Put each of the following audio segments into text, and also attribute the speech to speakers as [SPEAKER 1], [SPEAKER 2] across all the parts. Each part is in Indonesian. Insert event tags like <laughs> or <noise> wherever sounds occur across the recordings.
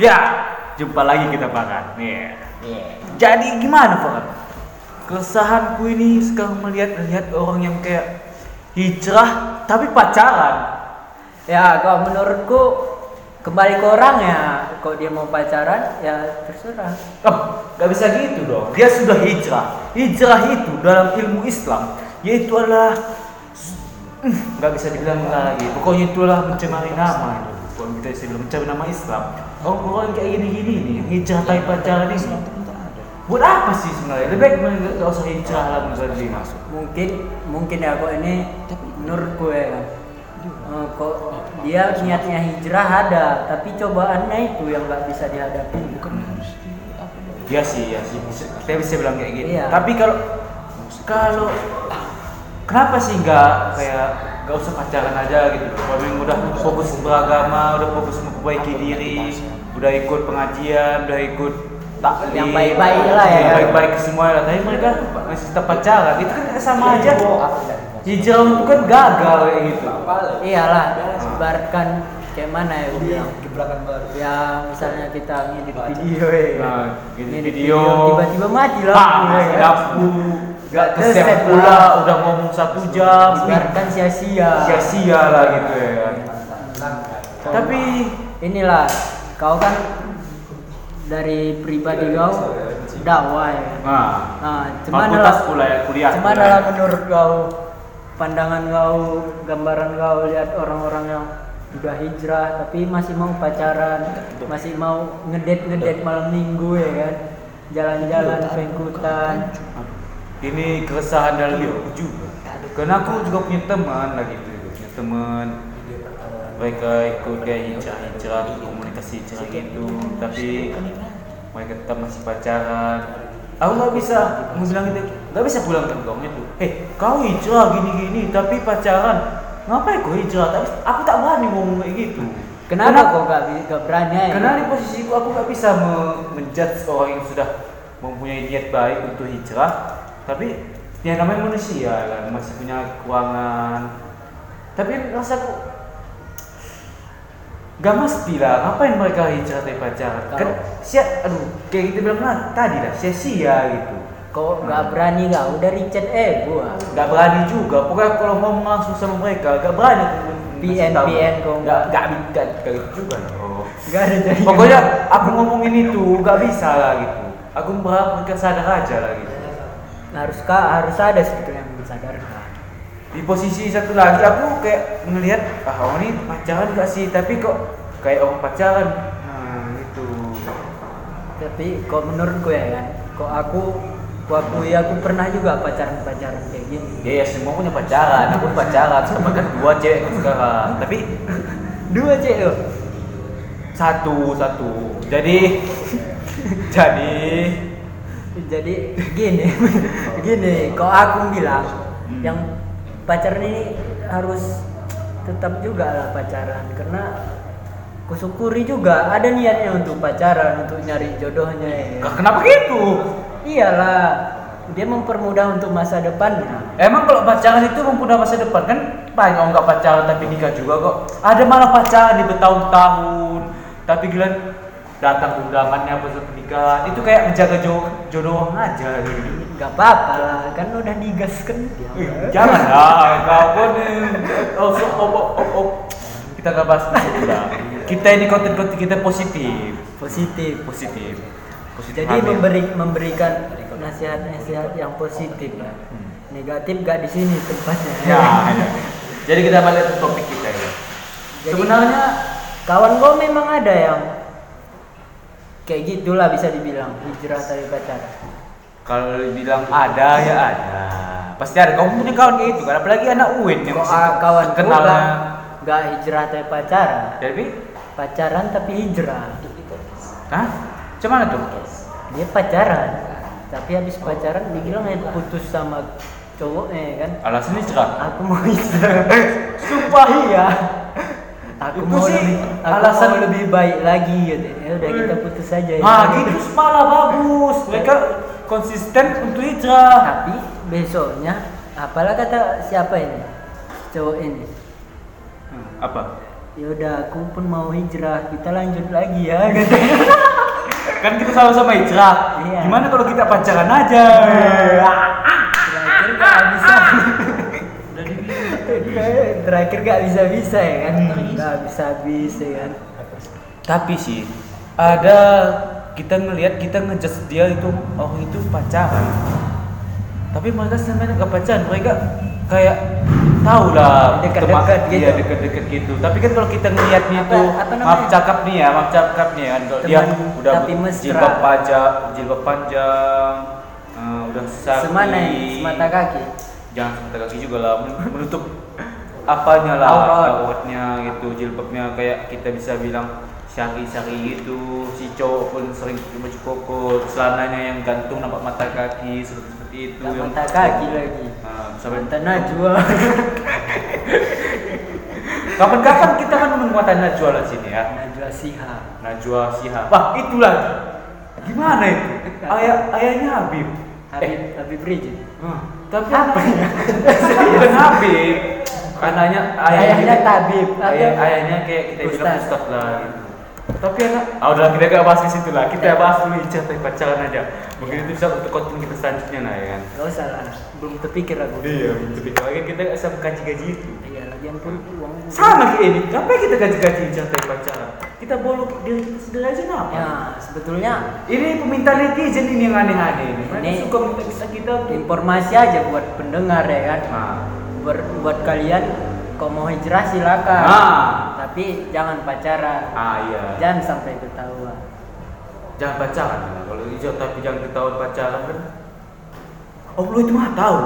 [SPEAKER 1] Ya, jumpa lagi kita bakar. Nih.
[SPEAKER 2] Iya.
[SPEAKER 1] Jadi gimana Fak? Keresahanku ini sekarang melihat-lihat orang yang kayak hijrah tapi pacaran.
[SPEAKER 2] Ya, kalau menurutku kembali ke orang ya, kalau dia mau pacaran ya terserah.
[SPEAKER 1] Oh, gak bisa gitu dong. Dia sudah hijrah. Hijrah itu dalam ilmu Islam yaitu adalah Hmm, nggak bisa dibilang lagi. Pokoknya itulah mencemari nama itu. Kalau kita bisa bilang mencemari nama Islam. Orang-orang kayak gini-gini nih, yang hijrah tapi pacaran ini. Buat apa sih sebenarnya? Lebih baik mereka nggak usah hijrah lah menurut dia.
[SPEAKER 2] Mungkin mungkin ya kok ini menurut gue kan. Eh, kok dia niatnya hijrah ada, tapi cobaannya itu yang nggak bisa dihadapi.
[SPEAKER 1] Iya sih, iya sih. Bisa- Kita bisa bilang kayak gitu.
[SPEAKER 2] Iya.
[SPEAKER 1] Tapi kalau kalau kenapa sih nggak kayak nggak usah pacaran aja gitu? Kalau memang udah fokus beragama, udah fokus memperbaiki diri, udah ikut pengajian, udah ikut taklim,
[SPEAKER 2] ya. Yang baik-baik lah ya.
[SPEAKER 1] yang baik-baik semua lah. Tapi mereka masih tetap pacaran, itu kan sama aja.
[SPEAKER 2] Iya.
[SPEAKER 1] ya? Hijrah itu kan gagal kayak gitu.
[SPEAKER 2] Iyalah, ibaratkan kayak mana ya gue bilang.
[SPEAKER 3] Gebrakan baru.
[SPEAKER 2] Ya misalnya kita ngedit video, ya.
[SPEAKER 1] Nah, gitu
[SPEAKER 2] ngedit
[SPEAKER 1] video,
[SPEAKER 2] tiba-tiba ya kan? mati lah.
[SPEAKER 1] Ah, aku nggak kesep
[SPEAKER 2] Kesep
[SPEAKER 1] pula, udah ngomong satu jam,
[SPEAKER 2] Ibaratkan sia-sia.
[SPEAKER 1] sia-sia lah gitu ya. Tapi
[SPEAKER 2] inilah kau kan dari pribadi
[SPEAKER 1] Iya,
[SPEAKER 2] kau dakwah ya.
[SPEAKER 1] nah,
[SPEAKER 2] Nah, cuman
[SPEAKER 1] Ha. fakultas
[SPEAKER 2] dalam
[SPEAKER 1] pula ya kuliah.
[SPEAKER 2] cuman dalam menurut kau pandangan kau gambaran kau lihat orang-orang yang udah hijrah tapi masih mau pacaran masih mau ngedate ngedate malam minggu ya kan
[SPEAKER 1] Iya,
[SPEAKER 2] jalan-jalan pengkutan
[SPEAKER 1] Ini keresahan dalam diriku juga. Karena aku juga punya teman lah gitu, punya teman mereka ikut kayak hijrah-hijrah, komunikasi hijrah gitu, tapi mereka tetap masih pacaran. Aku nggak bisa, aku bilang gitu, nggak bisa pulang ke kamu itu. Eh, kau hijrah gini-gini, tapi pacaran. Ngapain kau hijrah? Tapi aku tak berani ngomong kayak gitu.
[SPEAKER 2] kenapa kok gak, bi- gak berani ya?
[SPEAKER 1] Karena di posisiku aku nggak bisa me- menjudge orang yang sudah mempunyai niat baik untuk hijrah, tapi ya namanya manusia kan masih punya kekurangan. Tapi rasaku gak mesti lah, ngapain mereka hijrah dari pacaran? Kan
[SPEAKER 2] Kalau-
[SPEAKER 1] sia, aduh, kayak kita bilang nah, tadi lah, sia-sia gitu.
[SPEAKER 2] kok gak berani gak udah richard eh gua
[SPEAKER 1] Gak berani juga, pokoknya kalau ngomong langsung sama mereka, gak berani. aku ngasih
[SPEAKER 2] PN,
[SPEAKER 1] tahu.
[SPEAKER 2] PN kok
[SPEAKER 1] Gak,
[SPEAKER 2] nggak.
[SPEAKER 1] gak, gak, gak gitu juga loh.
[SPEAKER 2] gak ada jaringan.
[SPEAKER 1] Pokoknya aku ngomongin itu gak bisa lah gitu. Aku berharap mereka sadar aja lah gitu.
[SPEAKER 2] haruskah harus ada sebetulnya yang mensadarkan
[SPEAKER 1] Di posisi satu lagi aku kayak ngelihat ah orang ini pacaran gak sih tapi kok kayak orang pacaran. Nah gitu.
[SPEAKER 2] tapi kok menurut gue ya kan kok aku kok aku ya aku pernah juga pacaran pacaran kayak gini
[SPEAKER 1] Ya, ya semua punya pacaran, aku pacaran sama kan dua cewek sekarang. Tapi
[SPEAKER 2] dua cewek loh.
[SPEAKER 1] satu satu. Jadi <laughs> jadi
[SPEAKER 2] jadi gini <laughs> gini kok aku bilang yang pacaran ini harus tetap juga lah pacaran karena kusyukuri juga ada niatnya untuk pacaran untuk nyari jodohnya ya.
[SPEAKER 1] kenapa gitu?
[SPEAKER 2] iyalah dia mempermudah untuk masa depannya
[SPEAKER 1] Emang kalau pacaran itu mempunyai masa depan kan banyak orang nggak pacaran tapi nikah juga kok. Ada malah pacaran di bertahun-tahun tapi gila datang undangannya pas pernikahan itu kayak menjaga jo- jodoh aja gitu.
[SPEAKER 2] Gak apa-apa lah, kan udah digas kan.
[SPEAKER 1] Ih, Jangan lah, kau pun eh, oh, so- oh, oh, oh, oh. kita nggak bahas itu lah. Kita ini konten-konten kita positif,
[SPEAKER 2] Positif.
[SPEAKER 1] positif, positif.
[SPEAKER 2] Jadi
[SPEAKER 1] hamil.
[SPEAKER 2] memberi memberikan nasihat-nasihat yang positif lah. Negatif gak di sini tempatnya.
[SPEAKER 1] Hmm.
[SPEAKER 2] <laughs>
[SPEAKER 1] ya. ya. Jadi kita balik ke topik kita ya.
[SPEAKER 2] Jadi-
[SPEAKER 1] Sebenarnya
[SPEAKER 2] Kawan gue memang ada yang kayak gitulah bisa dibilang hijrah dari pacaran.
[SPEAKER 1] Kalau dibilang ada ya ada. Pasti ada. Kamu punya kawan kayak itu kan? Apalagi anak UIN yang
[SPEAKER 2] Kok
[SPEAKER 1] masih
[SPEAKER 2] ah, kawan
[SPEAKER 1] kenal.
[SPEAKER 2] kenal gak hijrah dari pacaran.
[SPEAKER 1] Jadi,
[SPEAKER 2] Pacaran tapi hijrah.
[SPEAKER 1] hah? Cuman tuh?
[SPEAKER 2] Dia pacaran, tapi habis pacaran dibilang ya putus sama cowoknya ya kan.
[SPEAKER 1] Alasannya cerah.
[SPEAKER 2] Aku mau hijrah.
[SPEAKER 1] Sumpah.
[SPEAKER 2] iya aku
[SPEAKER 1] Itu
[SPEAKER 2] mau
[SPEAKER 1] sih
[SPEAKER 2] lebih aku
[SPEAKER 1] alasan-
[SPEAKER 2] mau lebih baik lagi gitu ya udah kita putus saja ya
[SPEAKER 1] Nah, gitu malah bagus. Mereka konsisten untuk hijrah.
[SPEAKER 2] tapi besoknya apalah kata siapa ini cowok ini
[SPEAKER 1] Apa?
[SPEAKER 2] ya udah aku pun mau hijrah kita lanjut lagi ya <laughs> gitu
[SPEAKER 1] kan kita sama-sama hijrah
[SPEAKER 2] Iya.
[SPEAKER 1] gimana kalau kita pacaran aja Ah,
[SPEAKER 2] terakhir gak bisa terakhir gak bisa bisa ya kan
[SPEAKER 1] Hmm.
[SPEAKER 2] nggak bisa habis ya kan
[SPEAKER 1] tapi sih ada kita ngelihat kita ngejudge dia itu oh itu pacaran tapi mereka sebenarnya nggak pacaran mereka kayak tahu lah
[SPEAKER 2] Dekat-dekat
[SPEAKER 1] teman-
[SPEAKER 2] gitu.
[SPEAKER 1] iya, dekat-dekat gitu tapi kan kalau kita ngelihatnya
[SPEAKER 2] Apa-
[SPEAKER 1] tuh
[SPEAKER 2] apa namanya?
[SPEAKER 1] maaf cakap nih ya maaf cakap nih ya kan kalau dia
[SPEAKER 2] Teman
[SPEAKER 1] udah
[SPEAKER 2] tapi mesra.
[SPEAKER 1] jilbab panjang jilbab panjang eh, udah sakit
[SPEAKER 2] semana ya, semata kaki
[SPEAKER 1] jangan semata kaki juga lah men- menutup apanya lah
[SPEAKER 2] Aurat.
[SPEAKER 1] awatnya gitu jilbabnya kayak kita bisa bilang syari-syari gitu si cowok pun sering pakai baju koko celananya yang gantung nampak mata kaki seperti seperti itu
[SPEAKER 2] Nggak
[SPEAKER 1] yang
[SPEAKER 2] mata kaki lagi
[SPEAKER 1] Ah, sampai
[SPEAKER 2] Sampai najwa <laughs>
[SPEAKER 1] kapan-kapan kita kan mengkuatan Najwa lah sini ya
[SPEAKER 2] najwa sihab
[SPEAKER 1] Najwa Sihab wah itu lagi gimana itu ayah ayahnya Habib
[SPEAKER 2] Habib Habib Rizin
[SPEAKER 1] Ah, tapi
[SPEAKER 2] Apa
[SPEAKER 1] anaknya <laughs> bukan Habib anaknya
[SPEAKER 2] ayahnya tabib
[SPEAKER 1] Ayah,
[SPEAKER 2] Atau-
[SPEAKER 1] ayahnya kayak kita bilang
[SPEAKER 2] Ustaz.
[SPEAKER 1] Ustaz lah gitu. Tapi anak, ah udah kita gak bahas di situ lah. Kita
[SPEAKER 2] Iya.
[SPEAKER 1] bahas dulu ijazah tapi pacaran aja. Mungkin itu bisa untuk konten kita selanjutnya nah ya kan.
[SPEAKER 2] Gak usah lah, belum terpikir aku.
[SPEAKER 1] Iya, tapi kalau kan kita gak sama gaji-gaji itu.
[SPEAKER 2] Iya, lagian pun uang.
[SPEAKER 1] Sama kayak ini, kenapa kita gaji-gaji ijazah tapi pacaran? Kita bolok diri kita sendiri aja kenapa?
[SPEAKER 2] Ya, sebetulnya
[SPEAKER 1] Ini permintaan netizen ini yang aneh-aneh ini. Mereka
[SPEAKER 2] Ini-
[SPEAKER 1] suka minta kita kita tuh.
[SPEAKER 2] informasi aja buat pendengar ya kan.
[SPEAKER 1] Nah,
[SPEAKER 2] Buat, buat kalian, kau mau hijrah silakan.
[SPEAKER 1] Ah.
[SPEAKER 2] Tapi jangan pacaran,
[SPEAKER 1] ah iya.
[SPEAKER 2] jangan sampai ketahuan.
[SPEAKER 1] Jangan pacaran kan? Kalau hijau tapi jangan ketahuan pacaran kan. Oh, lu itu mah tahu.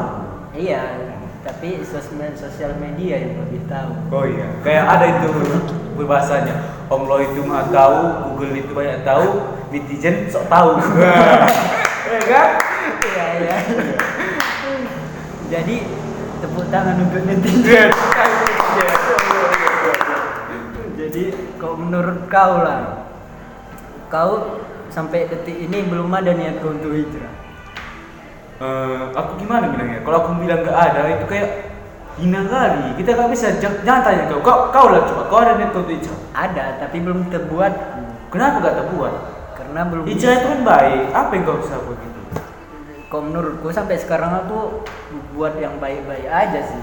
[SPEAKER 2] Iya, tapi sosmed sosial media yang lebih tahu.
[SPEAKER 1] Oh iya, kayak ada itu berbahasanya. Om Lo itu mah tahu, Google itu banyak tahu, netizen sok <laughs> tahu. Eh, ya kan?
[SPEAKER 2] Iya, iya. Jadi tepuk tangan untuk
[SPEAKER 1] Iya,
[SPEAKER 2] netizen. Jadi kalau menurut kau lah, kau sampai detik ini belum ada niat kau untuk hijrah.
[SPEAKER 1] Eh, aku gimana bilangnya? Kalau aku bilang nggak ada itu kayak hina kali. Kita nggak bisa jangan, jangan tanya kau. Kau kau lah coba. Kau ada niat kau untuk hijrah.
[SPEAKER 2] Ada tapi belum terbuat
[SPEAKER 1] Kenapa nggak terbuat?
[SPEAKER 2] karena belum.
[SPEAKER 1] Hijrah itu kan baik. Apa yang kau bisa buat gitu? itu?
[SPEAKER 2] Kalau menurutku sampai sekarang aku buat yang baik-baik aja sih.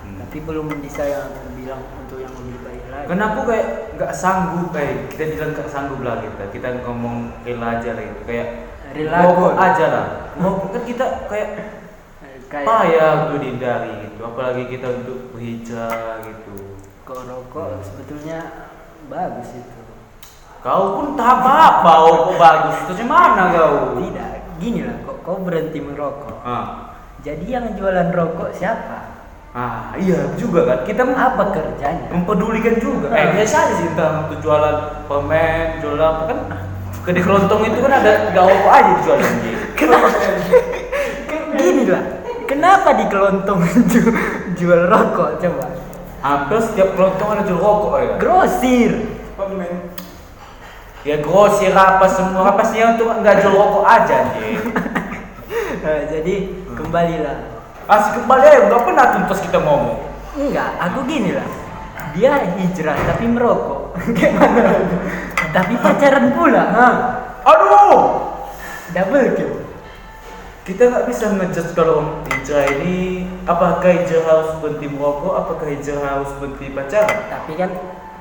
[SPEAKER 1] Hmm.
[SPEAKER 2] Tapi belum bisa yang aku bilang untuk yang lebih baik lagi.
[SPEAKER 1] Kenapa kayak nggak sanggup? Eh, kita bilang nggak sanggup lah kita. Kita ngomong rela aja lah gitu. Kayak
[SPEAKER 2] Rela
[SPEAKER 1] mogok
[SPEAKER 2] gol.
[SPEAKER 1] aja lah. Mogok kan kita kayak
[SPEAKER 2] Eh, Kayak
[SPEAKER 1] payah untuk dihindari gitu. Apalagi kita untuk berhijrah gitu.
[SPEAKER 2] kau rokok sebetulnya bagus itu.
[SPEAKER 1] Kau pun tak apa-apa, oh, kok bagus. Terus mana kau?
[SPEAKER 2] Tidak, gini lah kok kau berhenti merokok.
[SPEAKER 1] Ah,
[SPEAKER 2] Jadi yang jualan rokok siapa?
[SPEAKER 1] ah iya juga kan. Kita mem-
[SPEAKER 2] Apa kerjanya?
[SPEAKER 1] mempedulikan juga. Eh, biasa aja sih entah untuk jualan permen, jualan apa kan. Kedai kelontong itu kan ada nggak apa aja jualan gitu.
[SPEAKER 2] <laughs> Gini lah, kenapa di kelontong <laughs> ju- jual rokok coba?
[SPEAKER 1] Hampir setiap kelontong ada jual rokok ya.
[SPEAKER 2] Grosir.
[SPEAKER 1] Ya grosir apa semua apa sih yang untuk nggak jual rokok aja nih.
[SPEAKER 2] Nah, jadi kembalilah.
[SPEAKER 1] Kasih kembali ya nggak pernah tuntas kita ngomong.
[SPEAKER 2] Enggak, aku gini lah. Dia hijrah tapi merokok. <laughs> Gimana? tapi pacaran pula. Ha?
[SPEAKER 1] Aduh,
[SPEAKER 2] Double kill.
[SPEAKER 1] kita nggak bisa ngejudge kalau hijrah ini apakah hijrah harus berhenti merokok, apakah hijrah harus berhenti pacaran.
[SPEAKER 2] Tapi kan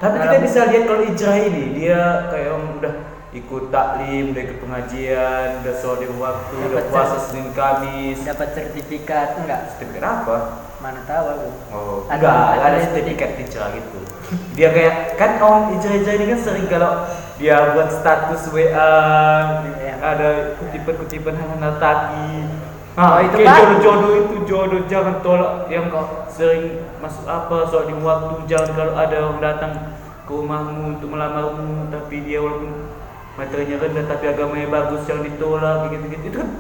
[SPEAKER 1] Tapi kita
[SPEAKER 2] dalam-
[SPEAKER 1] bisa lihat kalau hijrah ini dia kayak orang udah ikut taklim, udah ikut pengajian, udah sholat lima waktu, udah
[SPEAKER 2] Dapat
[SPEAKER 1] puasa
[SPEAKER 2] cer-
[SPEAKER 1] Senin Kamis.
[SPEAKER 2] dapat sertifikat enggak?
[SPEAKER 1] Deket apa?
[SPEAKER 2] Mana tahu aku.
[SPEAKER 1] Oh,
[SPEAKER 2] Ada-
[SPEAKER 1] enggak, enggak ada
[SPEAKER 2] ada
[SPEAKER 1] sertifikat hijrah gitu. Dia kayak kan orang hijrah-hijrah ini kan sering kalau dia buat status WA
[SPEAKER 2] Iya.
[SPEAKER 1] ada kutipan-kutipan hal tadi.
[SPEAKER 2] Oh,
[SPEAKER 1] Ah,
[SPEAKER 2] itu
[SPEAKER 1] itu
[SPEAKER 2] kan?
[SPEAKER 1] jodoh-jodoh itu jodoh jangan tolak yang kau sering masuk apa soal di waktu jangan kalau ada orang datang ke rumahmu untuk melamarmu tapi dia walaupun materinya rendah tapi agamanya bagus jangan ditolak gitu-gitu itu kan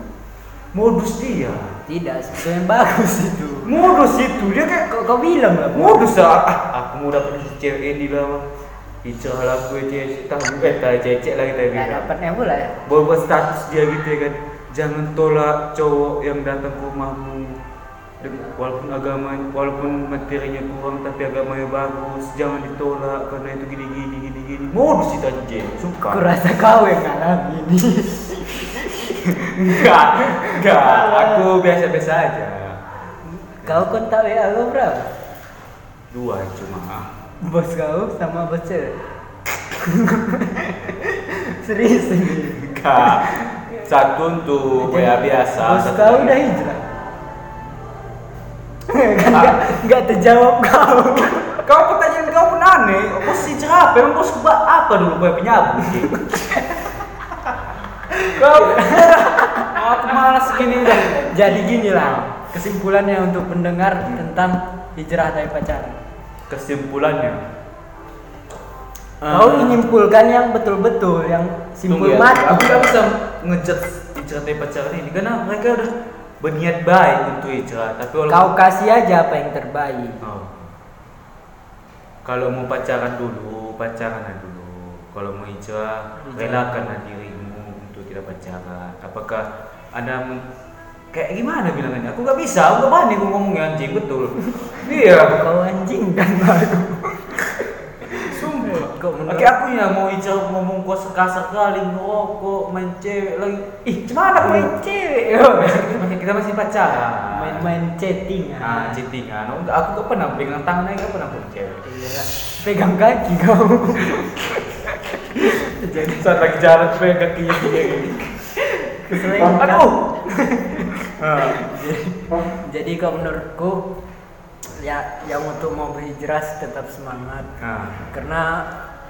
[SPEAKER 1] modus dia
[SPEAKER 2] Tidak, sebetulnya bagus itu.
[SPEAKER 1] modus itu dia kayak
[SPEAKER 2] Kok kau bilang lah? Bu?
[SPEAKER 1] Modus ah, ah, aku mau dapat cewek ini lah. Bicara lah gue cewek tahu eh tak cewek lagi tadi.
[SPEAKER 2] Enggak dapatnya pula ya.
[SPEAKER 1] Buat buat status dia gitu ya kan. Jangan tolak cowok yang datang ke rumahmu. Deng- walaupun agama walaupun materinya kurang tapi agamanya bagus jangan ditolak karena itu gini gini gini gini modus itu anjing suka <laughs>
[SPEAKER 2] Kurasa kau yang ngalamin
[SPEAKER 1] enggak enggak aku biasa biasa aja
[SPEAKER 2] Kau kan kontak WA kau berapa?
[SPEAKER 1] dua cuma
[SPEAKER 2] Bos kau sama bos cewek. <laughs> Serius ini.
[SPEAKER 1] enggak satu untuk WA biasa
[SPEAKER 2] Bos
[SPEAKER 1] satu
[SPEAKER 2] kau
[SPEAKER 1] lagi-
[SPEAKER 2] udah
[SPEAKER 1] <laughs>
[SPEAKER 2] hijrah. Kan
[SPEAKER 1] Ah.
[SPEAKER 2] nggak nggak terjawab kau.
[SPEAKER 1] kau pertanyaan kau pun aneh bos si cerap emang bos kebak apa dulu gue
[SPEAKER 2] <laughs>
[SPEAKER 1] penyabu sih kau
[SPEAKER 2] Oh,
[SPEAKER 1] aku malas gini dah
[SPEAKER 2] Jadi gini lah kesimpulannya untuk pendengar tentang hijrah dari pacaran.
[SPEAKER 1] kesimpulannya
[SPEAKER 2] Kau
[SPEAKER 1] eh,
[SPEAKER 2] menyimpulkan yang betul-betul yang
[SPEAKER 1] tunggu
[SPEAKER 2] simpul
[SPEAKER 1] ya, aku
[SPEAKER 2] mati.
[SPEAKER 1] gak bisa ngejudge hijrah dari pacaran ini karena mereka udah berniat baik untuk hijrah tapi
[SPEAKER 2] Kau
[SPEAKER 1] walaupun
[SPEAKER 2] kasih aja apa yang terbaik.
[SPEAKER 1] Oh. kalau mau pacaran dulu pacaran dulu kalau mau hijrah
[SPEAKER 2] Hijrah.
[SPEAKER 1] relakanlah dirimu untuk tidak pacaran apakah anda men- kayak gimana bilangannya aku gak bisa aku gak pandai ngomongnya anjing <laughs> betul iya
[SPEAKER 2] Kau anjing kan baru.
[SPEAKER 1] sumpah
[SPEAKER 2] Kau menurut-
[SPEAKER 1] Oke aku ya mau hijau ngomong gua sekasar kali ngerokok main cewek lagi. Ih cuman aku main cewek. yo? Kita masih pacaran.
[SPEAKER 2] main-main chatting
[SPEAKER 1] Nah
[SPEAKER 2] ah.
[SPEAKER 1] chattingan. Oh, enggak, aku gak pernah pegang tangannya gak pernah pegang cewek.
[SPEAKER 2] Iya. pegang kaki kau
[SPEAKER 1] Jadi saat lagi jalan pegang kakinya dia.
[SPEAKER 2] keselengan
[SPEAKER 1] Aduh. Ah.
[SPEAKER 2] jadi kau menurutku ya yang untuk mau berhijrah tetap semangat
[SPEAKER 1] Nah,
[SPEAKER 2] karena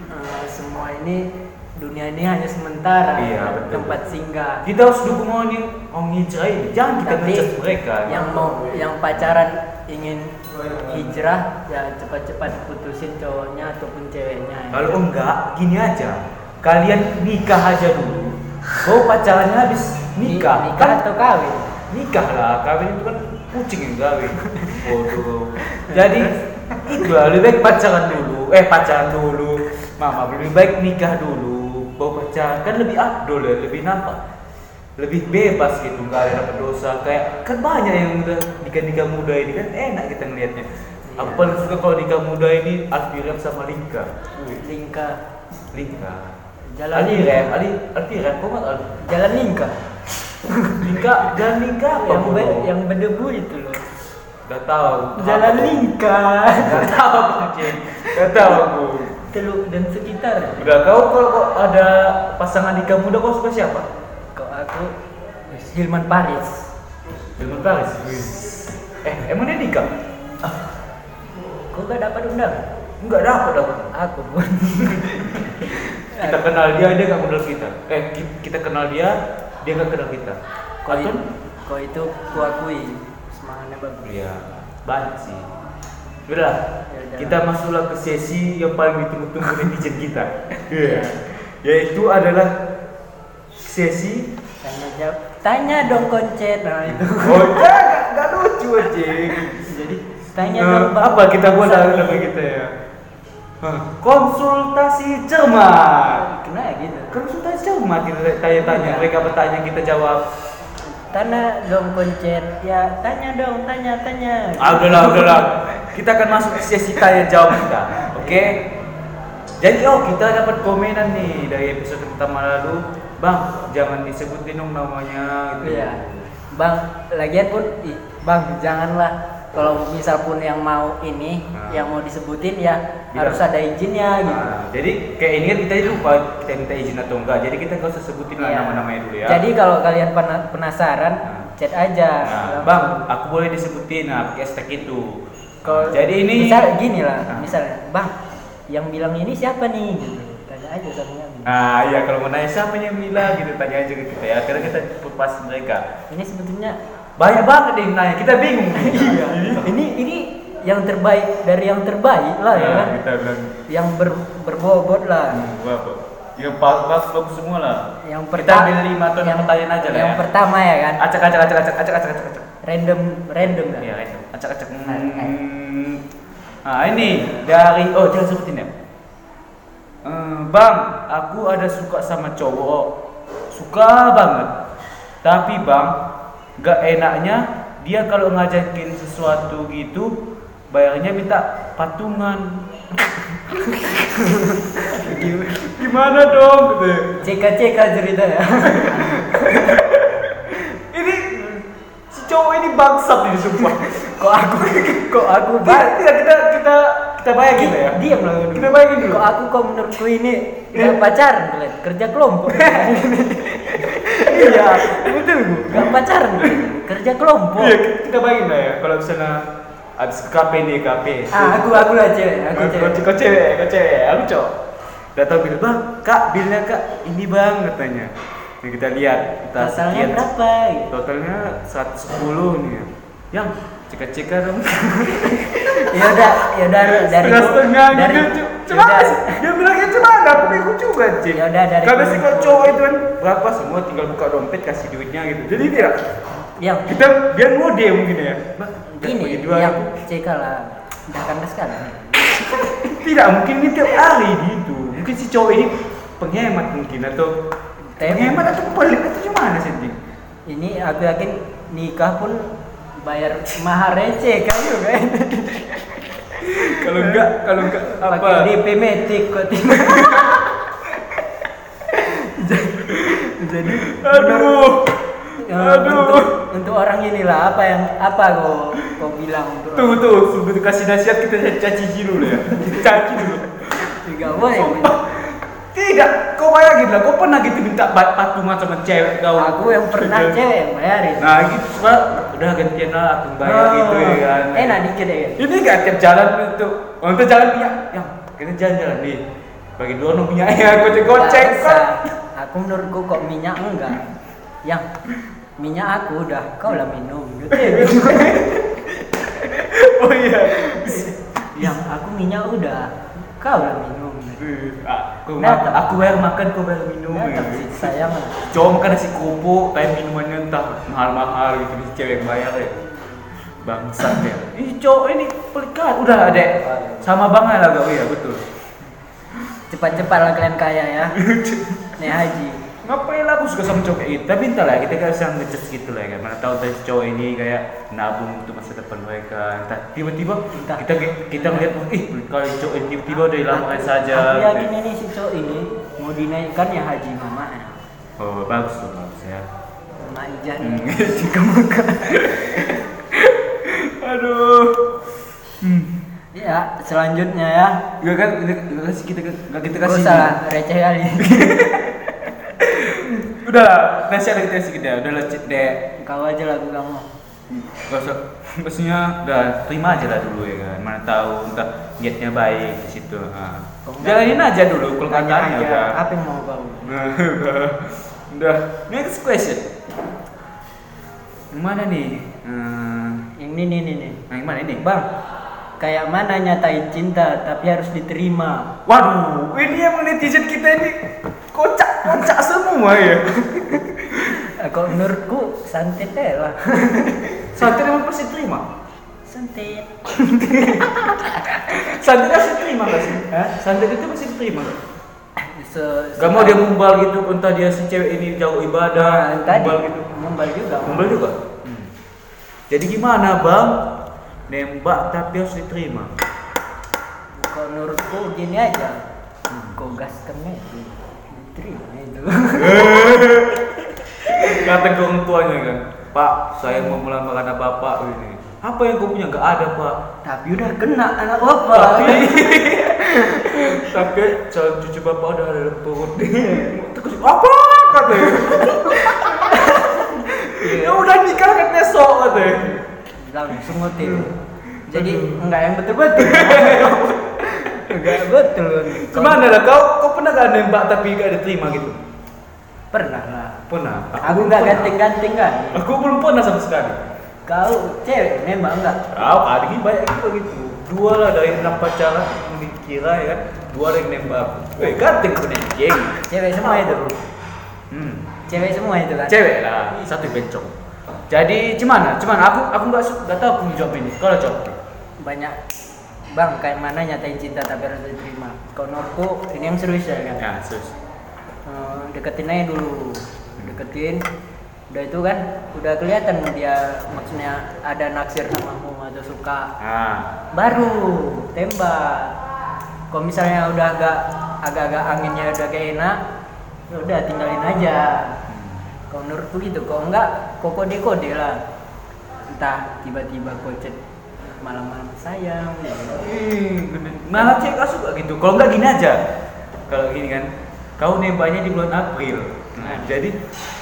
[SPEAKER 2] eh, semua ini dunia ini hanya sementara kan?
[SPEAKER 1] Iya, betul.
[SPEAKER 2] tempat singgah
[SPEAKER 1] kita harus dukung orang yang orang hijrah ini. Jangan kita
[SPEAKER 2] Tapi
[SPEAKER 1] ngejudge mereka. kan?
[SPEAKER 2] yang mau yang pacaran ingin hijrah ya cepat-cepat putusin cowoknya ataupun ceweknya
[SPEAKER 1] Kalau enggak, gini aja. Kalian nikah aja dulu. Kau pacarannya habis
[SPEAKER 2] Ni-
[SPEAKER 1] nikah.
[SPEAKER 2] nikah
[SPEAKER 1] Kan
[SPEAKER 2] atau kawin
[SPEAKER 1] nikah lah kawin itu kan kucing yang
[SPEAKER 2] <laughs>
[SPEAKER 1] kawin bodoh jadi itu lah, lebih baik pacaran dulu eh pacaran dulu mama lebih baik nikah dulu bawa pacaran kan lebih abdol ya lebih nampak lebih bebas gitu nggak ada dapat dosa kayak kan banyak yang udah nikah nikah muda ini kan enak kita ngelihatnya aku
[SPEAKER 2] Iya.
[SPEAKER 1] paling suka kalau nikah muda ini Alfiran sama Lingka
[SPEAKER 2] lingkar
[SPEAKER 1] Lingka
[SPEAKER 2] Jalan
[SPEAKER 1] Ali
[SPEAKER 2] Lingka.
[SPEAKER 1] Rem Ali Alfiran kok nggak
[SPEAKER 2] <laughs>
[SPEAKER 1] Al-
[SPEAKER 2] jalan lingkar
[SPEAKER 1] Lingka dan Lingka apa
[SPEAKER 2] yang, ber,
[SPEAKER 1] bodoh?
[SPEAKER 2] yang berdebu itu loh
[SPEAKER 1] Gak tahu.
[SPEAKER 2] jalan lingkar
[SPEAKER 1] Gak tahu
[SPEAKER 2] <laughs>
[SPEAKER 1] aku, Cin. Gak tahu aku.
[SPEAKER 2] teluk dan sekitar
[SPEAKER 1] Udah kau kalau kok ada pasangan nikah muda kau suka siapa?
[SPEAKER 2] kok aku Hilman Paris
[SPEAKER 1] Dengan Paris. Eh, emang dia nikah?
[SPEAKER 2] kok gak dapat undang
[SPEAKER 1] Enggak dapat aku.
[SPEAKER 2] aku pun
[SPEAKER 1] Kita kenal dia, dia gak kenal kita. Eh, ki- kita kenal dia, dia gak kenal kita.
[SPEAKER 2] kau itu
[SPEAKER 1] Atun?
[SPEAKER 2] kau itu kuakui semangatnya bagus
[SPEAKER 1] Iya, banyak sih. Udah,
[SPEAKER 2] Yaudah.
[SPEAKER 1] kita masuklah ke sesi yang paling ditunggu-tunggu netizen kita. Iya. Yaitu adalah sesi
[SPEAKER 2] tanya jawab tanya dong koncet nah itu
[SPEAKER 1] Oh, enggak, enggak lucu aja.
[SPEAKER 2] jadi tanya
[SPEAKER 1] Eh,
[SPEAKER 2] dong Bang.
[SPEAKER 1] apa kita buat dalam nama kita ya? Hah, Konsultasi cermat.
[SPEAKER 2] kena gitu
[SPEAKER 1] Konsultasi cermat kita tanya-tanya,
[SPEAKER 2] Iya.
[SPEAKER 1] mereka bertanya kita jawab.
[SPEAKER 2] tanya dong koncet ya tanya dong tanya tanya
[SPEAKER 1] Ah, udahlah, udahlah. Kita akan masuk ke sesi tanya jawab kita. Oke. Jadi oh kita dapat komenan nih dari episode pertama lalu, Bang, jangan disebutin dong namanya gitu.
[SPEAKER 2] Iya. Bang, lagian pun ih, Bang, janganlah kalau misal pun yang mau ini,
[SPEAKER 1] Nah.
[SPEAKER 2] yang mau disebutin ya
[SPEAKER 1] Bilang.
[SPEAKER 2] harus ada izinnya gitu.
[SPEAKER 1] Nah, jadi kayak ini kan kita lupa kita minta izin atau enggak. Jadi kita nggak usah sebutin lah
[SPEAKER 2] Iya.
[SPEAKER 1] nama-namanya dulu ya.
[SPEAKER 2] Jadi kalau kalian pena- penasaran,
[SPEAKER 1] Nah.
[SPEAKER 2] chat aja.
[SPEAKER 1] Nah, bang, aku boleh disebutin nah, pakai hashtag itu.
[SPEAKER 2] Kalau-
[SPEAKER 1] Jadi ini
[SPEAKER 2] misal gini lah,
[SPEAKER 1] Nah.
[SPEAKER 2] misalnya, Bang, yang bilang ini siapa nih gitu. Tanya aja sama kami.
[SPEAKER 1] Nah, ya kalau mau nanya siapa yang bilang gitu tanya aja ke kita ya. Karena kita kupas mereka.
[SPEAKER 2] Ini sebetulnya
[SPEAKER 1] Banyak banget yang nanya, kita bingung. iya.
[SPEAKER 2] <laughs> ini ini yang terbaik dari yang terbaik lah ya
[SPEAKER 1] Nah,
[SPEAKER 2] kan.
[SPEAKER 1] kita bilang
[SPEAKER 2] Yang ber, berbobot lah.
[SPEAKER 1] "Hmm, apa? Ya bagus bagus semua lah.
[SPEAKER 2] Yang
[SPEAKER 1] Kita
[SPEAKER 2] perta-
[SPEAKER 1] ambil lima atau enam
[SPEAKER 2] yang-
[SPEAKER 1] pertanyaan aja lah
[SPEAKER 2] Yang
[SPEAKER 1] ya.
[SPEAKER 2] pertama ya kan.
[SPEAKER 1] Acak acak acak acak acak acak acak. acak.
[SPEAKER 2] random random kan?
[SPEAKER 1] Ya, itu. acak acak. Nah, ini dari oh jangan sebutin ya. Eh, bang, aku ada suka sama cowok, suka banget. Tapi bang, gak enaknya dia kalau ngajakin sesuatu gitu bayarnya minta patungan <laughs> gimana dong gitu
[SPEAKER 2] CK CK cerita ya <laughs>
[SPEAKER 1] ini si cowok ini bangsat ini sumpah
[SPEAKER 2] kok aku kok aku
[SPEAKER 1] tidak tidak, kita kita kita bayangin
[SPEAKER 2] Dia
[SPEAKER 1] ya
[SPEAKER 2] diam lah dulu.
[SPEAKER 1] kita bayangin dulu
[SPEAKER 2] Kok aku kok menurutku ini nggak pacaran, Glenn. kerja
[SPEAKER 1] <laughs>
[SPEAKER 2] kelompok. iya, betul Bu. Nggak pacaran, Glenn. kerja kelompok.
[SPEAKER 1] Iya, kita bayangin lah ya kalau misalnya abis ke KPD KPS
[SPEAKER 2] Ah, aku aku lah cewek,
[SPEAKER 1] Kau-
[SPEAKER 2] aku
[SPEAKER 1] kau
[SPEAKER 2] cewek.
[SPEAKER 1] kau cewek, kau cewek, aku cowok. Datang bil bang, kak bilnya kak ini bang katanya. Nah, kita lihat, kita
[SPEAKER 2] Pasalnya
[SPEAKER 1] lihat
[SPEAKER 2] berapa? gitu.
[SPEAKER 1] totalnya 110 nih. ya. Yang cek-cek dong.
[SPEAKER 2] Ya udah, ya udah dari
[SPEAKER 1] setengah
[SPEAKER 2] dari
[SPEAKER 1] gitu.
[SPEAKER 2] ya
[SPEAKER 1] Cuma
[SPEAKER 2] udah,
[SPEAKER 1] dia bilangnya cuma ada aku ikut juga cek.
[SPEAKER 2] Ya udah, dari
[SPEAKER 1] Kalau
[SPEAKER 2] dulu.
[SPEAKER 1] si kau cowok itu kan berapa semua tinggal buka dompet kasih duitnya gitu. Jadi dia
[SPEAKER 2] yang
[SPEAKER 1] kita dia ngode mungkin ya. Bang,
[SPEAKER 2] gini,
[SPEAKER 1] bagi dua.
[SPEAKER 2] yang CK lah. Udah kandas kan?
[SPEAKER 1] Tidak mungkin ini tiap hari gitu. Mungkin si cowok ini penghemat mungkin atau
[SPEAKER 2] Tapi
[SPEAKER 1] Penghemat atau pelit itu gimana sih? Dik?
[SPEAKER 2] ini aku yakin nikah pun bayar maharnya CK juga.
[SPEAKER 1] Kalau enggak, kalau enggak apa?
[SPEAKER 2] Pakai DP metik kok <laughs> tiba. jadi
[SPEAKER 1] Aduh.
[SPEAKER 2] ya,
[SPEAKER 1] Aduh.
[SPEAKER 2] untuk, untuk orang inilah apa yang apa kau kau bilang untuk
[SPEAKER 1] Tuh tuh, sebelum kasih nasihat kita caci dulu ya. Kita caci dulu.
[SPEAKER 2] juga boleh
[SPEAKER 1] Sumpah. Tidak, kau bayangin lah, kau pernah gitu minta bat- patungan sama cewek kau.
[SPEAKER 2] aku yang pernah cewek yang bayarin Oh.
[SPEAKER 1] Nah, gitu Pak. udah gantian lah aku bayar gitu ya kan.
[SPEAKER 2] enak dikit ya kan?
[SPEAKER 1] Ini enggak tiap jalan itu. Untuk jalan minyak, yang kita jalan-jalan nih. Bagi dua no minyaknya, goceng-goceng
[SPEAKER 2] Nggak
[SPEAKER 1] kok.
[SPEAKER 2] usah. aku menurutku kok minyak enggak yang minyak aku udah kau lah minum gitu
[SPEAKER 1] <laughs> <laughs> Oh iya.
[SPEAKER 2] yang aku minyak udah kau lah minum gitu.
[SPEAKER 1] Aku,
[SPEAKER 2] Nah,
[SPEAKER 1] ma- aku bayar makan, kau bayar minum.
[SPEAKER 2] Nah,
[SPEAKER 1] ya.
[SPEAKER 2] tapi sayang lah
[SPEAKER 1] cowok makan nasi kupu kayak minumannya entah mahal-mahal gitu di cewek yang bayar ya bangsat ya ih cowok ini pelikan udah adek sama banget lah kau ya betul
[SPEAKER 2] cepat-cepat lah kalian kaya ya nih haji
[SPEAKER 1] ngapain lah aku suka sama cowok kayak gitu tapi entah lah kita kayak bisa ngejudge gitu lah ya kan mana tahu dari cowok ini kayak nabung untuk masa depan mereka entah tiba-tiba
[SPEAKER 2] Entah.
[SPEAKER 1] kita kita melihat ih kalau cowok ini tiba-tiba udah lama
[SPEAKER 2] Aku-
[SPEAKER 1] saja
[SPEAKER 2] aku yakin ya.
[SPEAKER 1] gitu.
[SPEAKER 2] ini si cowok ini mau dinaikkan ya haji mama ya
[SPEAKER 1] oh bagus tuh bagus ya
[SPEAKER 2] mama ijah nih
[SPEAKER 1] Hmm. <laughs> aduh hmm.
[SPEAKER 2] ya selanjutnya ya
[SPEAKER 1] Gak kan, gak kasih kita gak kita
[SPEAKER 2] gak
[SPEAKER 1] kasih.
[SPEAKER 2] usah lah, receh kali <laughs>
[SPEAKER 1] Udah lah, nasihat kita kasih ke dia. Udah lah, cek deh.
[SPEAKER 2] kau aja lagu kamu
[SPEAKER 1] Gak usah. Maksudnya udah terima aja lah dulu ya kan. Mana tahu entah niatnya baik di situ. Nah.
[SPEAKER 2] Kalau enggak-
[SPEAKER 1] Jalanin aja dulu kalau nggak
[SPEAKER 2] Tanya
[SPEAKER 1] tanya
[SPEAKER 2] aja,
[SPEAKER 1] udah.
[SPEAKER 2] apa yang mau kau
[SPEAKER 1] Nah, udah. <laughs> Udah. Next question. Yang Mana nih? Hmm,
[SPEAKER 2] yang ini nih nih nih
[SPEAKER 1] nah, yang mana ini?
[SPEAKER 2] bang kayak mana nyatain cinta tapi harus diterima
[SPEAKER 1] Waduh, ini yang netizen kita ini kocak-kocak semua ya.
[SPEAKER 2] Eh, kok menurutku santet aja lah
[SPEAKER 1] <laughs>
[SPEAKER 2] <laughs>
[SPEAKER 1] Santri emang pasti terima.
[SPEAKER 2] santet
[SPEAKER 1] Santet masih terima gak sih? Hah? Santet itu masih terima gak?
[SPEAKER 2] Se-
[SPEAKER 1] Gak mau dia mumbal gitu, entah dia si cewek ini jauh ibadah,
[SPEAKER 2] Nah, tadi
[SPEAKER 1] mumbal gitu.
[SPEAKER 2] membal juga
[SPEAKER 1] Mumbal juga? Hmm. Jadi gimana bang? Nembak tapi harus diterima.
[SPEAKER 2] Kok menurutku gini aja. Kok gas kena itu. Terima
[SPEAKER 1] <laughs>
[SPEAKER 2] itu.
[SPEAKER 1] Kata ke orang tuanya kan, Pak, saya mau melamar anak bapak ini. Apa yang kau punya? Gak ada pak.
[SPEAKER 2] Tapi udah kena anak apa?
[SPEAKER 1] Tapi, tapi calon cucu bapak udah ada dalam <laughs> perut. Terus apa <laughs> katanya? ya udah nikah kan besok katanya.
[SPEAKER 2] Langsung ngotin.
[SPEAKER 1] Hmm.
[SPEAKER 2] Jadi enggak yang
[SPEAKER 1] <laughs>
[SPEAKER 2] betul-betul. enggak betul.
[SPEAKER 1] Gimana lah kau? Kau pernah gak nembak tapi gak diterima gitu?
[SPEAKER 2] Pernah lah.
[SPEAKER 1] Pernah. belum
[SPEAKER 2] Aku enggak
[SPEAKER 1] pernah.
[SPEAKER 2] ganteng-ganteng kan.
[SPEAKER 1] Aku belum pernah sama sekali.
[SPEAKER 2] Kau cewek nembak enggak?
[SPEAKER 1] Kau ada ini ah, banyak juga gitu. Dua lah dari enam pacaran yang dikira ya kan. Dua ada yang nembak. Weh ganteng kau nih, geng.
[SPEAKER 2] Cewek semua itu.
[SPEAKER 1] Hmm.
[SPEAKER 2] Cewek semua itu kan.
[SPEAKER 1] Cewek lah. Satu bencong. Jadi gimana? Gimana? Aku aku nggak suka nggak tahu aku jawab ini. Kalau jawab.
[SPEAKER 2] Banyak Bang, kayak mana nyatain cinta tapi harus diterima. Kau menurutku ini yang serius ya kan.
[SPEAKER 1] Ya, serius.
[SPEAKER 2] Eh, deketin aja dulu deketin udah itu kan udah kelihatan dia maksudnya ada naksir sama kamu atau suka
[SPEAKER 1] Nah,
[SPEAKER 2] baru tembak kalau misalnya udah agak agak-agak anginnya udah kayak enak ya udah tinggalin aja kalau menurutku gitu kalau enggak kok kode kode lah entah tiba-tiba kocet malam-malam sayang
[SPEAKER 1] Ih, gede. malah cewek kau suka gitu kalau nggak gini aja kalau gini kan kau nembaknya di bulan April nah jadi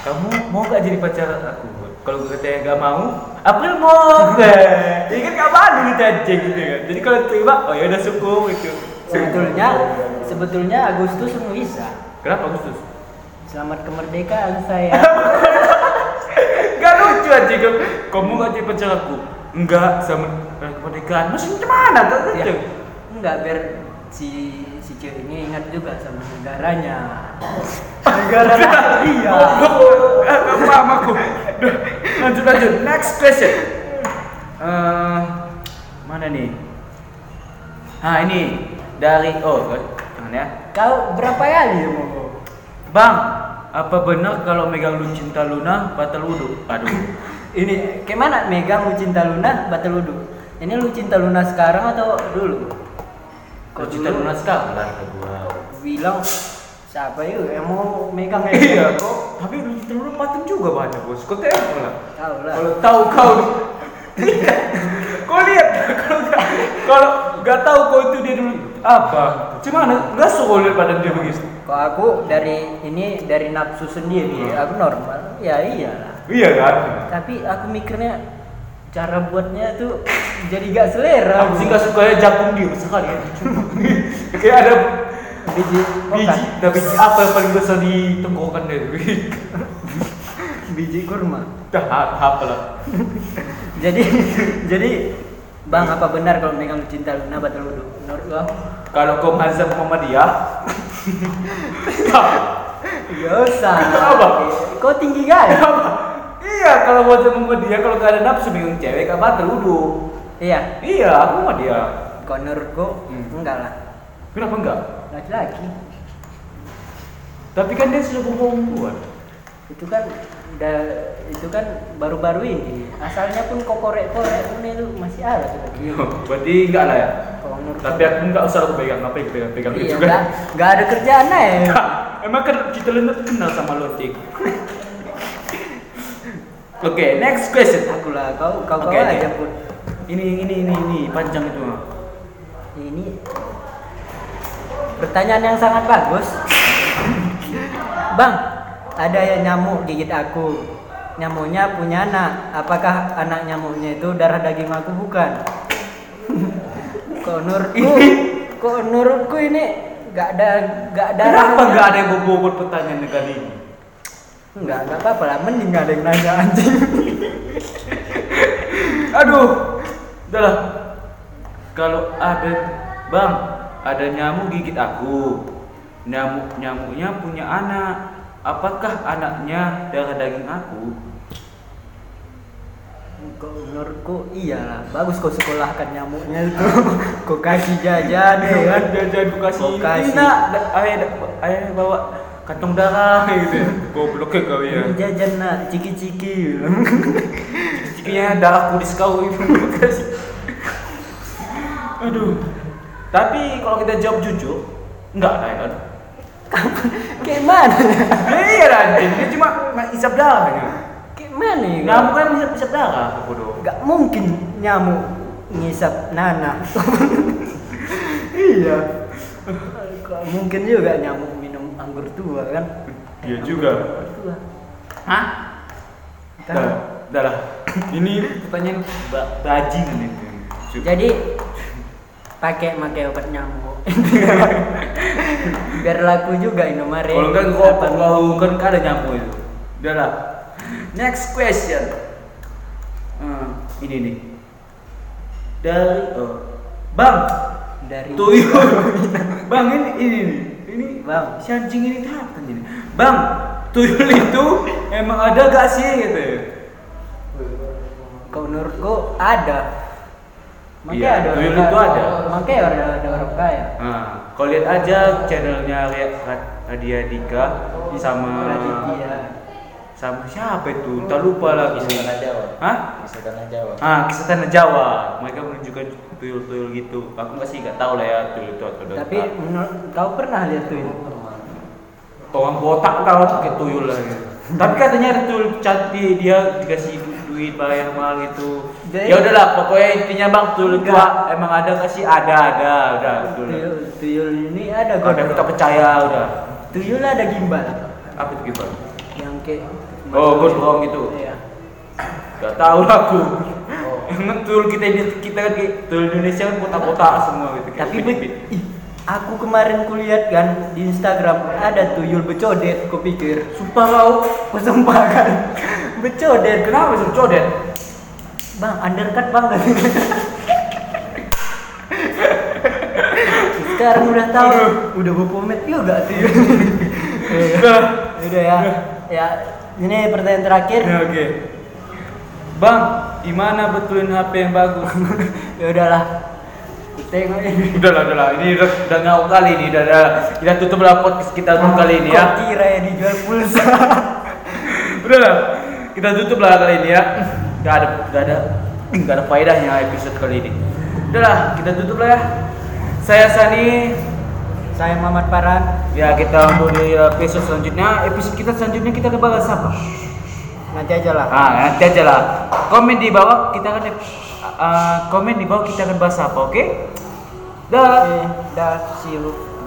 [SPEAKER 1] kamu mau nggak jadi pacar aku kalau gue katanya nggak mau April mau deh ya kan nggak mau gitu aja gitu kan jadi kalau terima oh ya udah syukur gitu
[SPEAKER 2] sebetulnya sebetulnya Agustus semua bisa
[SPEAKER 1] kenapa Agustus
[SPEAKER 2] selamat kemerdekaan saya
[SPEAKER 1] Gak lucu aja kan kamu nggak jadi pacar aku enggak sama eh, kemerdekaan masih gimana tuh
[SPEAKER 2] ya,
[SPEAKER 1] gitu
[SPEAKER 2] enggak biar si si cewek ini ingat juga sama negaranya negara dia
[SPEAKER 1] Oh, Gak paham aku. Duh, Lanjut lanjut. Next question. Eh, mana nih? Ah ini dari oh jangan ya.
[SPEAKER 2] kau berapa kali ya, mau
[SPEAKER 1] Bang, apa benar kalau megang lu cinta Luna batal wudhu? Aduh.
[SPEAKER 2] ini kayak mana megang lu cinta Luna batal wudhu ini lu cinta Luna sekarang atau dulu
[SPEAKER 1] Kalau cinta Luna sekarang lah ke gua.
[SPEAKER 2] bilang siapa yuk yang mau
[SPEAKER 1] <laughs>
[SPEAKER 2] megang ya
[SPEAKER 1] Iya kok. Tapi lu cinta Luna patung juga banyak bos. Kau tengok lah.
[SPEAKER 2] tahu lah
[SPEAKER 1] Kalau tahu kau Iya. <laughs> Kau lihat kalau nggak- kalau nggak tahu kau itu dia dulu apa? Cuman nggak suka lihat badan dia begitu.
[SPEAKER 2] kalau aku dari ini dari nafsu
[SPEAKER 1] Hmm.
[SPEAKER 2] sendiri aku normal ya iyalah
[SPEAKER 1] Iya kan?
[SPEAKER 2] tapi aku mikirnya cara buatnya tuh jadi gak selera
[SPEAKER 1] Aku sih nggak suka ya jagung dia sekali <laughs> ya. Kayak ada
[SPEAKER 2] biji
[SPEAKER 1] biji,
[SPEAKER 2] okat.
[SPEAKER 1] ada biji apa yang paling besar di tenggorokan dia?
[SPEAKER 2] biji kurma
[SPEAKER 1] <laughs> Dah apa lah?
[SPEAKER 2] jadi <laughs> jadi bang apa benar kalau megang cinta Luna batal wudhu menurut lo
[SPEAKER 1] Kalau kau mazhab Muhammadiyah, <laughs> apa?
[SPEAKER 2] ya usah
[SPEAKER 1] Kenapa?
[SPEAKER 2] kau tinggi kan
[SPEAKER 1] Iya, kalau mazhab Muhammadiyah kalau nggak ada nafsu bingung cewek, nggak batal wudhu.
[SPEAKER 2] iya
[SPEAKER 1] Iya, aku Muhammadiyah.
[SPEAKER 2] kau menurut gua
[SPEAKER 1] Hmm.
[SPEAKER 2] enggak lah
[SPEAKER 1] Kenapa enggak?
[SPEAKER 2] laki-laki
[SPEAKER 1] Tapi kan dia sudah perempuan.
[SPEAKER 2] itu kan udah itu kan baru-baru ini asalnya pun kok korek-korek pun itu masih ada tuh
[SPEAKER 1] Iya, berarti enggak lah ya.
[SPEAKER 2] kalau menurut
[SPEAKER 1] Tapi
[SPEAKER 2] gua-
[SPEAKER 1] aku enggak usah aku pegang apa yang pegang pegang
[SPEAKER 2] iya,
[SPEAKER 1] itu
[SPEAKER 2] enggak,
[SPEAKER 1] kan.
[SPEAKER 2] enggak ada kerjaan
[SPEAKER 1] <laughs>
[SPEAKER 2] ya
[SPEAKER 1] Emang kan kita lenut kenal sama lonceng. Oke, next question.
[SPEAKER 2] aku lah kau
[SPEAKER 1] Oke,
[SPEAKER 2] kau kau
[SPEAKER 1] oke.
[SPEAKER 2] aja pun
[SPEAKER 1] Ini ini ini ini panjang itu.
[SPEAKER 2] ini pertanyaan yang sangat bagus bang ada yang nyamuk gigit aku nyamuknya punya anak apakah anak nyamuknya itu darah daging aku bukan <laughs> kok nurku kok nurutku ini nggak ada nggak ada
[SPEAKER 1] Kenapa enggak ada yang berbobot pertanyaan dengan ini?
[SPEAKER 2] nggak nggak apa-apa lah mending nggak ada yang nanya anjing
[SPEAKER 1] Aduh. Udahlah. Kalau ada Bang, ada nyamuk gigit aku. Nyamuk-nyamuknya punya anak. Apakah anaknya darah daging aku?
[SPEAKER 2] Kok menurutku iyalah bagus kau sekolahkan nyamuknya
[SPEAKER 1] <laughs>
[SPEAKER 2] itu kau kasih jajan ya kan
[SPEAKER 1] Iya, jajan kasih Iya.
[SPEAKER 2] Kau kasih.
[SPEAKER 1] Enggak, da- ayah da- ayah bawa kantong darah <laughs> gitu ya. Goblok ya kau ya.
[SPEAKER 2] Ini jajan nak ciki-ciki <laughs>
[SPEAKER 1] Cikinya darah kudis <laughs> kau itu kasih. Aduh. Tapi kalau kita jawab jujur, enggak lah ya kan.
[SPEAKER 2] kayak mana
[SPEAKER 1] Ya iya lah, anjing. dia cuma isap darah gitu.
[SPEAKER 2] kayak mana ya
[SPEAKER 1] Nyamuk kan bisa isap darah, bodoh.
[SPEAKER 2] nggak mungkin nyamuk ngisap nanah <laughs> iya Nggak mungkin juga nyamuk minum anggur tua kan
[SPEAKER 1] Iya
[SPEAKER 2] Anggur
[SPEAKER 1] juga.
[SPEAKER 2] tua
[SPEAKER 1] Hah?
[SPEAKER 2] Kan?
[SPEAKER 1] Dah, dah lah. Ini pertanyaan ba- bajingan ini. Jadi
[SPEAKER 2] jadi pakai pakai obat nyamuk biar laku juga Indomaret
[SPEAKER 1] kalau kan kok kalau kan kan ada nyamuk itu. Udah lah. Next question. Hmm, ini nih. Dari oh. Bang,
[SPEAKER 2] dari
[SPEAKER 1] tuyul. Bang ini ini nih. Ini
[SPEAKER 2] Bang.
[SPEAKER 1] si anjing ini datang ini. Bang, tuyul itu emang ada gak sih gitu ya?
[SPEAKER 2] Kalau menurutku ada.
[SPEAKER 1] Iya,
[SPEAKER 2] Makanya ada
[SPEAKER 1] tuyul
[SPEAKER 2] orang
[SPEAKER 1] itu
[SPEAKER 2] kaya.
[SPEAKER 1] ada.
[SPEAKER 2] Makanya ada, ada orang kaya.
[SPEAKER 1] Nah, kau lihat aja channelnya Ria- Ra- Radia Dika sama
[SPEAKER 2] Raditya.
[SPEAKER 1] sama siapa itu tak lupa lah
[SPEAKER 3] Kisah
[SPEAKER 1] kisah
[SPEAKER 3] tanah Jawa.
[SPEAKER 1] Hah?
[SPEAKER 3] Kisah tanah Jawa.
[SPEAKER 1] ah kisah tanah Jawa mereka menunjukkan tuyul-tuyul gitu aku masih nggak tahu lah ya tuyul itu atau
[SPEAKER 2] Tapi
[SPEAKER 1] apa.
[SPEAKER 2] menurut kau pernah lihat tuh?
[SPEAKER 1] orang botak kalau pakai tuyul lah gitu. tapi katanya ada tuyul cantik dia dikasih du- duit bayar mahal gitu
[SPEAKER 2] Jadi-
[SPEAKER 1] ya udahlah pokoknya intinya bang tuyul itu
[SPEAKER 2] Enggak.
[SPEAKER 1] ah, emang ada nggak sih ada ada udah tuyul
[SPEAKER 2] Tuyul, tuyul ini ada
[SPEAKER 1] ada kita
[SPEAKER 2] gondrong.
[SPEAKER 1] percaya udah
[SPEAKER 2] Tuyul ada gimbal
[SPEAKER 1] apa itu gimana
[SPEAKER 2] yang kayak
[SPEAKER 1] Oh, gondrong gitu.
[SPEAKER 2] Iya.
[SPEAKER 1] Gak tahu lah aku
[SPEAKER 3] Oh.
[SPEAKER 1] emang tuyul kita ini kita kan kayak tuyul Indonesia kan botak-botak semua gitu kayak
[SPEAKER 2] Tapi be-
[SPEAKER 1] bibit-bibit.
[SPEAKER 2] ih, aku kemarin kulihat kan di Instagram ada tuyul becodet, ku pikir.
[SPEAKER 1] sumpah kau
[SPEAKER 2] Ku sumpah kan. <laughs> Becodet.
[SPEAKER 1] kenapa sih codet
[SPEAKER 2] Bang, undercut bang. <laughs> Sekarang udah tahu, udah berpomet juga
[SPEAKER 1] <laughs>
[SPEAKER 2] tuyul.
[SPEAKER 1] Udah.
[SPEAKER 2] udah ya. Ya, ini pertanyaan terakhir.
[SPEAKER 1] Ya, oke bang gimana betulin HP yang <laughs> bagus
[SPEAKER 2] ya udahlah kita tengok ini
[SPEAKER 1] Udah lah, udah lah. Ini udah, udah ngauk kali ini. Udah, udah. Kita tutup lah podcast kita untuk kali ini ya.
[SPEAKER 2] Koki raya dijual pulsa <laughs>
[SPEAKER 1] Udah lah. Kita tutup lah kali ini ya. Gak ada, gak ada, gak ada faedahnya episode kali ini. Udah lah, kita tutup lah ya. Saya Sani.
[SPEAKER 2] saya Mamat Paran
[SPEAKER 1] Ya kita untuk di episode selanjutnya. Episode kita selanjutnya kita akan bahas apa?
[SPEAKER 2] nanti aja lah
[SPEAKER 1] Ah, nanti aja lah. Komen di bawah kita akan eh, komen di bawah kita akan bahas apa, oke? Dah.
[SPEAKER 2] oke dah see you